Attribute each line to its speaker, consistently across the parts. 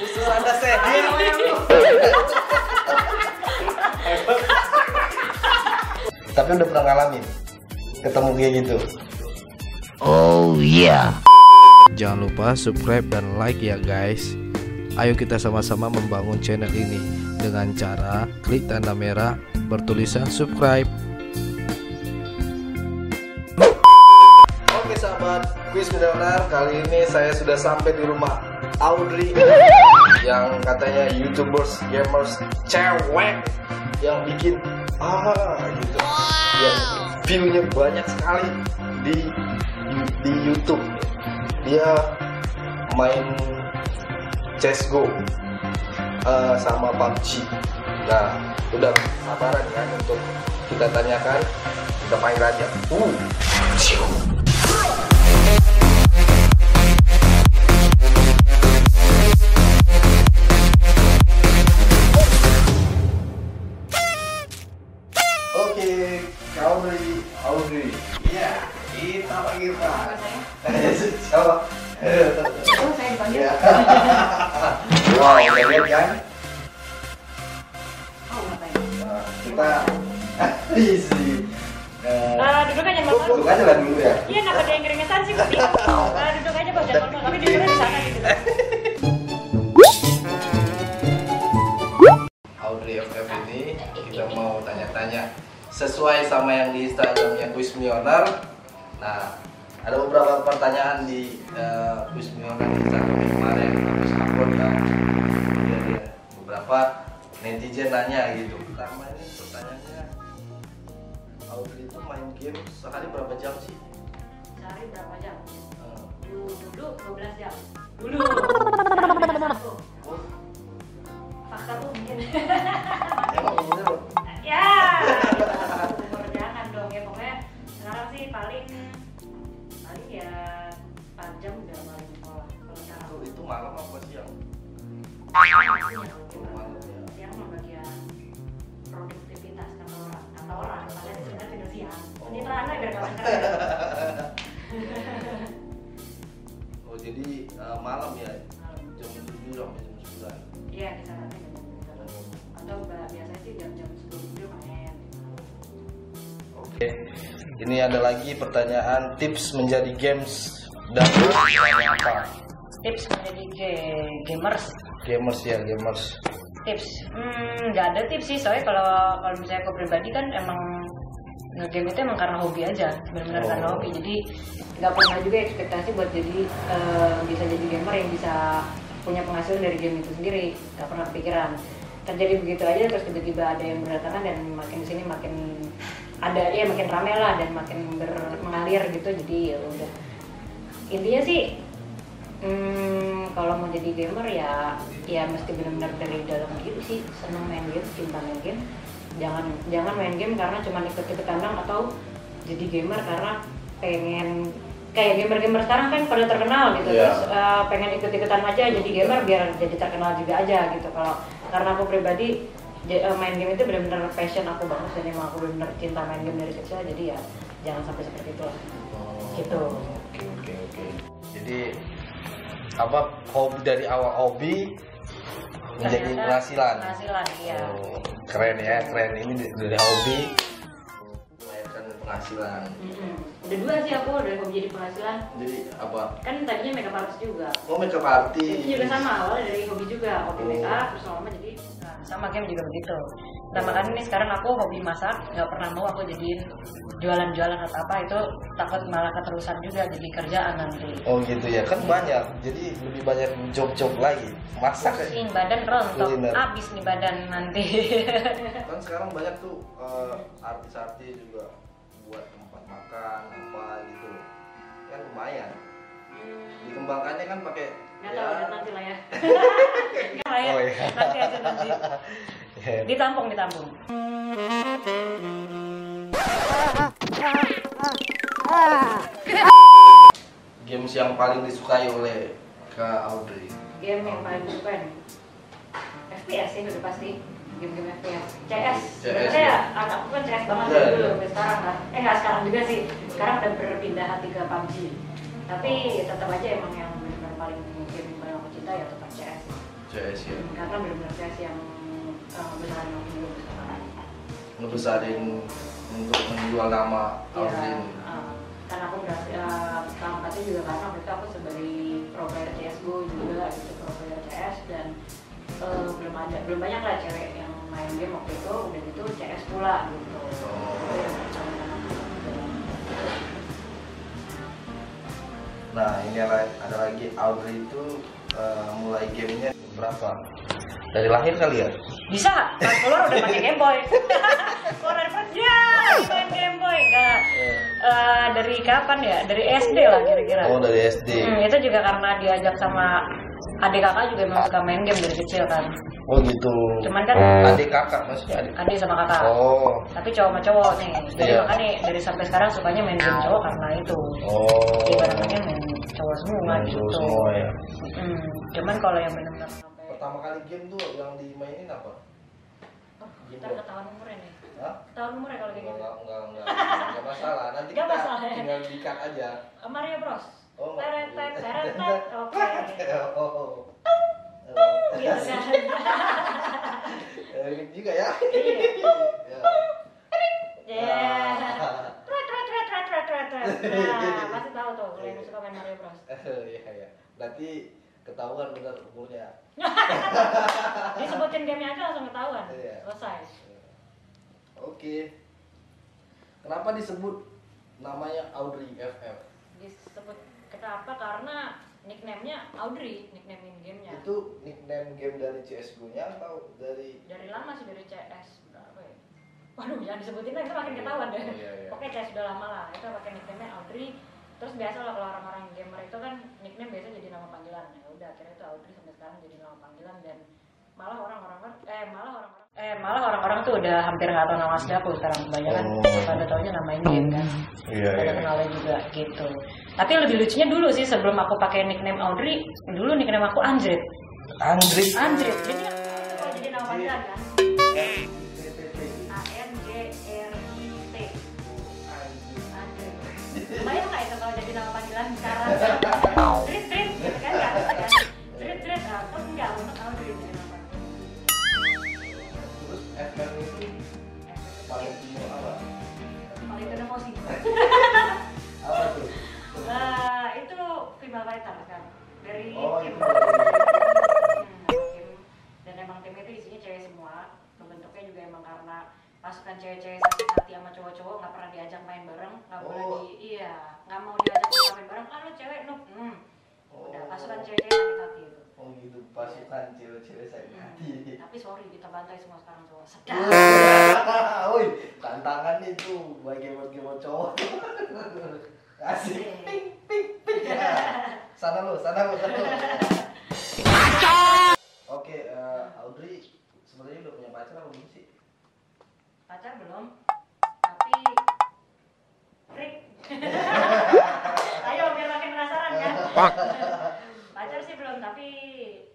Speaker 1: Usus anda sehat. Tapi udah pernah ngalamin ketemu kayak gitu.
Speaker 2: Jangan lupa subscribe dan like ya guys. Ayo kita sama-sama membangun channel ini dengan cara klik tanda merah bertulisan subscribe.
Speaker 1: Oke sahabat, kuis milioner kali ini saya sudah sampai di rumah Audrey yang katanya youtubers gamers cewek yang bikin ah gitu yang viewnya banyak sekali di di YouTube dia main CSGO eh, sama PUBG nah udah sabaran kan untuk kita tanyakan kita panggil aja uh cium. Oke, Audrey, Audrey. Iya, kita panggil Pak. 哎 Coba. 哎
Speaker 3: Oh, saya dipanggil.
Speaker 1: Ya. Wow, keren kan?
Speaker 3: Oh, ngapain?
Speaker 1: Nah, kita 啊 isi. Eh,
Speaker 4: Ah, duduk aja Bang
Speaker 1: Duduk
Speaker 4: Norman.
Speaker 1: aja lah dulu ya.
Speaker 4: Iya, kenapa dia yang keringetan sih, Budi? Ah, duduk aja Bang Norman, tapi duduknya di sana gitu.
Speaker 1: Audrey FM ini kita mau tanya-tanya sesuai sama yang di Instagramnya Kuis Millioner. Nah, ada beberapa pertanyaan di eh, Kuis Millioner di Instagram yang kemarin habis upload ya. Iya, iya. Beberapa netizen nanya gitu. Pertama ini pertanyaannya Audrey itu main game sehari berapa jam sih?
Speaker 3: Sehari berapa jam?
Speaker 1: Eh,
Speaker 3: Dulu 12 jam. Dulu. Sekarang udah satu.
Speaker 1: oh,
Speaker 3: Fakta tuh mungkin.
Speaker 1: emang umurnya berapa?
Speaker 3: ya. Umur jangan dong ya pokoknya sekarang sih paling paling ya 4 jam udah balik sekolah. Kalau sekarang
Speaker 1: Itu- itu malam apa siang?
Speaker 3: Yang
Speaker 1: Malam ya.
Speaker 3: siang mah bagian produktivitas kata orang. Kata orang, padahal sebenarnya tidur siang. Ini terang biar kalian keren.
Speaker 1: Oh jadi eh, malam ya
Speaker 3: Malam.
Speaker 1: jam 7 sampai jam 9
Speaker 3: Iya, kisarannya jam-jam gitu. Atau ba- biasanya sih jam-jam sebelum tidur main.
Speaker 1: Oke Ini ada lagi pertanyaan tips menjadi games dan bermain apa
Speaker 4: Tips menjadi ge- gamers.
Speaker 1: Gamers ya gamers
Speaker 4: Tips, hmm, nggak ada tips sih. Soalnya kalau kalau misalnya aku pribadi kan emang nge-game itu emang karena hobi aja, benar-benar
Speaker 1: Oh.
Speaker 4: karena hobi. Jadi nggak pernah juga ekspektasi buat jadi eh, bisa jadi gamer yang bisa punya penghasilan dari game itu sendiri. Nggak pernah kepikiran. Terjadi begitu aja terus tiba-tiba ada yang berdatangan dan makin sini makin ada ya makin rame lah dan makin ber- mengalir gitu. Jadi ya udah intinya sih hmm, kalau mau jadi gamer ya ya mesti benar-benar dari dalam diri sih senang main game cinta main game jangan jangan main game karena cuma ikut-ikut kandang atau jadi gamer karena pengen kayak gamer-gamer sekarang kan pada terkenal gitu
Speaker 1: Iya.
Speaker 4: terus eh, pengen ikut-ikutan aja jadi gamer biar jadi terkenal juga aja gitu kalau karena aku pribadi ja- eh, main game itu benar-benar passion aku banget dan emang aku benar-benar cinta main game dari kecil jadi ya jangan sampai seperti itu lah
Speaker 1: Oh,
Speaker 4: Gitu.
Speaker 1: Oke oke oke Jadi apa hobi dari awal hobi menjadi
Speaker 4: Ternyata
Speaker 1: penghasilan
Speaker 4: penghasilan iya
Speaker 1: Oh, Keren ya keren ini dari- dari hobi melahirkan penghasilan
Speaker 3: Mm-mm. Udah Hmm. dua sih aku dari hobi jadi penghasilan.
Speaker 1: Jadi apa?
Speaker 3: Kan tadinya makeup artist juga.
Speaker 1: Oh makeup
Speaker 3: Itu
Speaker 1: artist
Speaker 3: juga sama awalnya dari hobi juga, hobi
Speaker 1: Oh.
Speaker 3: makeup terus lama jadi
Speaker 4: sama game juga begitu nah makanya nih sekarang aku hobi masak nggak pernah mau aku jadiin jualan-jualan atau apa itu takut malah keterusan juga jadi kerjaan nanti
Speaker 1: Oh gitu ya, kan banyak. Jadi lebih banyak job-job lagi. Masak ya.
Speaker 4: pusing badan rontok
Speaker 1: Bener.
Speaker 4: abis nih badan nanti
Speaker 3: Iya.
Speaker 1: Kan sekarang banyak tuh eh, artis-artis juga buat tempat makan apa gitu. Kan lumayan. Dikembangkannya kan pakai
Speaker 3: Hmm. nggak tahu udah nanti lah ya.
Speaker 4: Nah, ya,
Speaker 1: Oh, iya.
Speaker 4: nanti aja nanti
Speaker 1: ya.
Speaker 4: ditampung ditampung
Speaker 1: games yang paling disukai oleh Kak Audrey.
Speaker 3: Game yang paling suka nih. FPS sih udah pasti game-game FPS. CS.
Speaker 1: CS,
Speaker 3: Sebenarnya
Speaker 1: ya.
Speaker 3: ya. anakku kan CS banget
Speaker 1: Iya,
Speaker 3: dari dulu
Speaker 1: iya.
Speaker 3: sampai sekarang lah. Eh nggak sekarang juga sih. Sekarang udah berpindah hati ke PUBG. Tapi tetap aja emang yang benar-benar paling game yang paling aku
Speaker 1: CS ya
Speaker 4: karena benar-benar tes yang eh, beneran yang belum besaran.
Speaker 1: ngebesarin untuk menjual nama
Speaker 3: Iya.
Speaker 4: Ya,
Speaker 1: Aldrin
Speaker 4: eh, karena aku berhasil eh, keangkatnya juga karena waktu itu aku sebagai provider CS gue juga gitu provider CS dan eh, belum ada belum banyak lah cewek yang main game waktu itu udah gitu CS pula gitu. Itu yang pertama.
Speaker 1: nah ini la- ada lagi Audrey itu eh, mulai gamenya berapa dari lahir kali
Speaker 3: Iya.
Speaker 1: ya
Speaker 4: Bisa, pas keluar udah pakai Game Boy. keluar dari pas ya, main Game Boy. Enggak. Eh, dari kapan ya? Dari SD lah kira-kira.
Speaker 1: oh dari SD
Speaker 4: Hmm, itu juga karena diajak sama adik kakak juga memang suka main game dari kecil kan.
Speaker 1: oh gitu
Speaker 4: Cuman kan
Speaker 1: adik kakak maksudnya adik
Speaker 4: adik Kan sama kakak.
Speaker 1: oh
Speaker 4: Tapi cowok sama cowok nih. Jadi
Speaker 1: Iya.
Speaker 4: makanya dari sampai sekarang sukanya main game cowok karena itu.
Speaker 1: oh
Speaker 4: Jadi barangnya main cowok semua gitu.
Speaker 1: Muncul semua ya
Speaker 4: Hmm, cuman kalau yang benar-benar sampai
Speaker 1: pertama kali game tuh yang dimainin apa
Speaker 4: Oh, kita ketahuan umurnya nih.
Speaker 1: Hah?
Speaker 4: Ketahuan umurnya kalau kayak gitu.
Speaker 1: Enggak, enggak, enggak, enggak masalah. Nanti
Speaker 4: Enggak
Speaker 1: kita
Speaker 4: masalah ya.
Speaker 1: tinggal dikat aja.
Speaker 4: Eh, Mario Bros.
Speaker 1: Oh,
Speaker 4: Teretek,
Speaker 1: iya.
Speaker 4: teretek. Oke. Iya.
Speaker 1: Oh.
Speaker 4: Gitu kan.
Speaker 1: Eh, gitu juga ya.
Speaker 4: Iya.
Speaker 1: Ya.
Speaker 4: Yeah.
Speaker 1: Ah.
Speaker 4: Iya. Tret, tret, tret, tret, tret, tret, tret. Nah, pasti tahu tuh kalau yang suka main Mario Bros.
Speaker 1: Eh, Iya, iya. Berarti ketahuan benar umurnya.
Speaker 4: Disebutin gamenya aja langsung ketahuan.
Speaker 1: Iya.
Speaker 4: Selesai.
Speaker 1: Oke. Kenapa disebut namanya Audrey FF?
Speaker 4: Disebut kenapa? Karena nickname-nya Audrey, nickname in gamenya.
Speaker 1: Iya. Itu nickname game dari CSGO-nya atau dari
Speaker 4: Dari lama sih dari CS berapa ya? Waduh, jangan disebutin lah, itu makin ketahuan deh.
Speaker 1: Iya, iya.
Speaker 4: Pokoknya CS udah lama lah, itu pakai nickname Audrey. Terus biasa lah kalau orang-orang gamer itu kan nickname biasa jadi nama panggilan. Ya udah, akhirnya itu Audrey sampai sekarang jadi nama panggilan dan malah orang-orang kan- eh malah orang-orang eh malah orang-orang tuh udah hampir nggak tahu nama asli aku sekarang kebanyakan
Speaker 1: Oh.
Speaker 4: pada taunya nama ini kan
Speaker 1: Iya,
Speaker 4: ada kenalnya juga gitu. Tapi lebih lucunya dulu sih sebelum aku pakai nickname Audrey, dulu nickname aku Anjrit.
Speaker 1: Andri.
Speaker 4: Anjrit. Jadi kalau jadi nama panggilan kan A N J R I T. Anjrit. Bayang nggak itu kalau jadi nama panggilan sekarang? Drit drit gitu kan nggak ada kan? Drit drit nah, terus nggak untuk Audrey jadi nama panggilan.
Speaker 1: Nah, Terus FF itu
Speaker 4: Eh,
Speaker 1: paling dino apa?
Speaker 4: Paling kena emosi.
Speaker 1: Apa tuh?
Speaker 4: Eh, itu female fighter kan dari
Speaker 1: Oh, iya.
Speaker 4: tim
Speaker 1: itu.
Speaker 4: Hmm, tim dan emang tim itu isinya cewek semua bentuknya juga emang karena pasukan cewek-cewek sakit hati sama cowok-cowok nggak pernah diajak main bareng nggak boleh
Speaker 1: Oh.
Speaker 4: di iya nggak mau diajak main bareng ah lu cewek noob hmm. udah pasukan cewek-cewek sakit hati itu
Speaker 1: Oh gitu, pasukan cewek-cewek saya
Speaker 4: Hmm,
Speaker 1: hati. Iya,
Speaker 4: tapi sorry kita bantai semua sekarang cowok sedap
Speaker 1: Wah, Woi, tantangan itu bagi buat cowok. Asik. Ping, ping, ping. Ya. Sana lo, sana lo, sana lo. Oke, eh, Audrey sebenarnya udah punya pacar apa belum sih?
Speaker 4: pacar belum tapi Rick ayo biar makin penasaran kan pacar sih belum tapi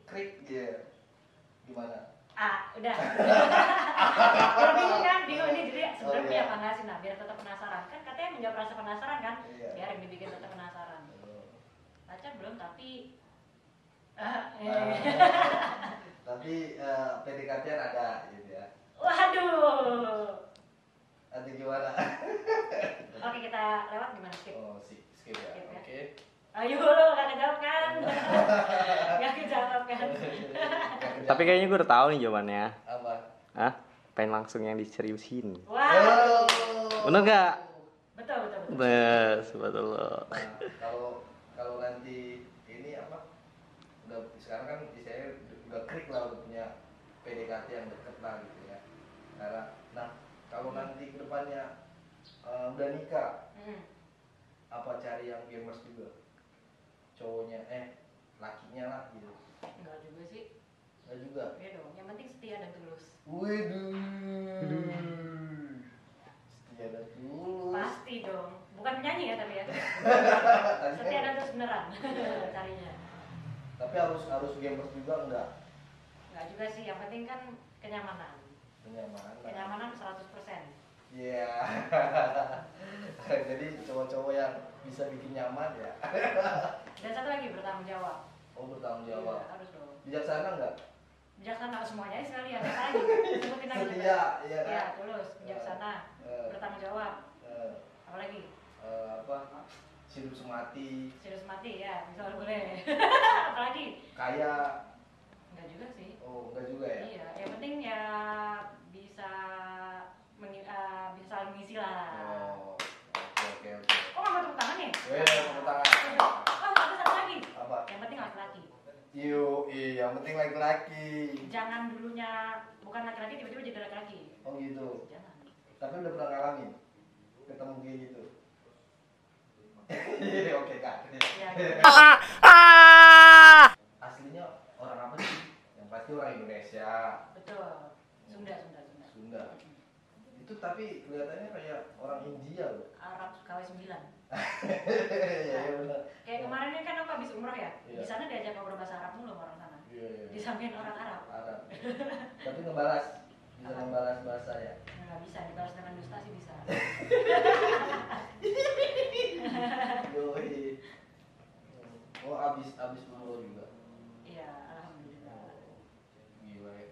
Speaker 1: Krik dia. Gimana?
Speaker 4: ah udah Kalau bingung kan bingung ini jadi sebenarnya
Speaker 1: Oh,
Speaker 4: punya
Speaker 1: iya.
Speaker 4: apa nggak sih nah biar tetap penasaran kan katanya menjawab rasa penasaran kan
Speaker 1: Iya.
Speaker 4: biar yang dibikin tetap penasaran pacar belum tapi Ah,
Speaker 1: Eh,
Speaker 4: eh.
Speaker 1: tapi eh, PDKT-an ada gitu ya
Speaker 4: Ah. waduh
Speaker 1: atau gimana
Speaker 4: oke kita lewat gimana skip
Speaker 1: oh si skip ya
Speaker 4: Skip ya.
Speaker 1: oke
Speaker 4: ayo lo gak kejawab kan gak kejawab kan
Speaker 5: Tapi kayaknya gue udah tahu nih jawabannya.
Speaker 1: apa
Speaker 5: Hah? Pengen langsung yang diseriusin.
Speaker 4: wah
Speaker 5: Bener gak?
Speaker 4: betul betul betul
Speaker 5: Bes, betul lo.
Speaker 1: Nah, kalau kalau nanti ini apa udah sekarang kan saya udah krik lah udah punya PDKT yang deket lah gitu ya karena nah kalau nanti kedepannya eh, udah nikah
Speaker 4: Hmm.
Speaker 1: apa cari yang gamers juga cowoknya eh lakinya lah gitu
Speaker 4: Enggak juga sih,
Speaker 1: Enggak juga
Speaker 4: ya dong. Yang penting setia dan tulus.
Speaker 1: Waduh. Iya, Setia dan tulus.
Speaker 4: Pasti dong. Bukan penyanyi ya tapi ya. Setia
Speaker 1: Tanya,
Speaker 4: dan tulus beneran
Speaker 1: Iya.
Speaker 4: carinya.
Speaker 1: Tapi harus harus gamers juga enggak?
Speaker 4: Enggak juga sih, yang penting kan kenyamanan.
Speaker 1: Kenyamanan.
Speaker 4: Kenyamanan 100%.
Speaker 1: Iya. Jadi cowok-cowok yang bisa bikin nyaman ya.
Speaker 4: Dan satu lagi bertanggung jawab.
Speaker 1: Oh bertanggung
Speaker 4: Iya,
Speaker 1: jawab.
Speaker 4: harus dong.
Speaker 1: Bijaksana enggak?
Speaker 4: Bijaksana semuanya aja sekalian apalagi sebutin lagi.
Speaker 1: Iya, iya, kan?
Speaker 4: Iya, tulus, bijaksana,
Speaker 1: Eh.
Speaker 4: bertanggung jawab,
Speaker 1: Eh,
Speaker 4: apalagi
Speaker 1: eh, apa hidup semati
Speaker 4: serius mati ya, misal boleh.
Speaker 1: Iya.
Speaker 4: apalagi
Speaker 1: kaya
Speaker 4: enggak juga sih.
Speaker 1: oh enggak juga ya
Speaker 4: Iya, yang penting ya bisa meni- eh, bisa saling mengisi lah.
Speaker 1: oh oke oke oke
Speaker 4: Kok nggak mau tepuk tangan ya?
Speaker 1: Weh, tepuk tangan.
Speaker 4: Oh, ada satu lagi.
Speaker 1: Apa?
Speaker 4: Yang penting laki-laki.
Speaker 1: Yo, iya, yang penting laki-laki.
Speaker 4: Jangan dulunya bukan laki-laki tiba-tiba jadi laki-laki.
Speaker 1: Oh gitu.
Speaker 4: Jangan.
Speaker 1: Tapi udah pernah ngalamin ketemu kayak gitu. Iya, Oke kak.
Speaker 4: Ya,
Speaker 1: Iya. Aslinya orang apa sih? Yang pasti orang Indonesia,
Speaker 4: betul. Sunda, Sunda, Sunda.
Speaker 1: Sunda. Itu tapi kelihatannya kayak orang India loh.
Speaker 4: Arab Sukawai 9.
Speaker 1: Iya, iya benar.
Speaker 4: Kayak kemarin kan aku habis umroh ya.
Speaker 1: Iya.
Speaker 4: Di sana diajak ngobrol bahasa Arab mulu sama orang sana.
Speaker 1: Iya, iya.
Speaker 4: Disamain orang Arab.
Speaker 1: Arab. Tapi ngebalas, bisa ngebalas bahasa ya.
Speaker 4: Enggak bisa dibalas dengan dusta sih bisa.
Speaker 1: Yoi. Oh, abis abis umroh juga.
Speaker 4: Iya, alhamdulillah.
Speaker 1: Gila ya.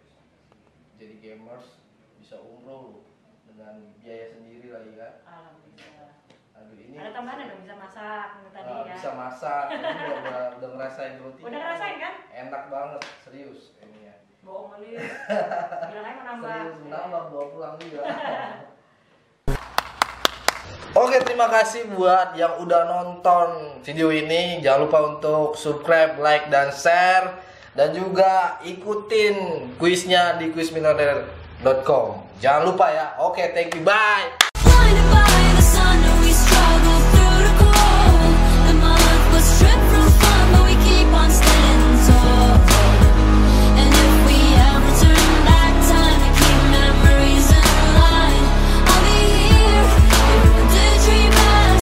Speaker 1: Jadi gamers bisa umroh loh dengan biaya sendiri lagi kan.
Speaker 4: Alhamdulillah.
Speaker 1: Aduh ini.
Speaker 4: Ada tambahan dong bisa masak tadi
Speaker 1: Ah,
Speaker 4: ya.
Speaker 1: bisa masak, ini udah, udah, udah ngerasain roti.
Speaker 4: Udah ngerasain kan?
Speaker 1: Enak banget, serius ini ya.
Speaker 4: Bohong kali. Bilang aja menambah.
Speaker 1: Serius menambah bawa pulang juga. Oke terima kasih buat yang udah nonton video ini Jangan lupa untuk subscribe, like, dan share Dan juga ikutin kuisnya di kuismilioner.com Jangan lupa ya Oke thank you bye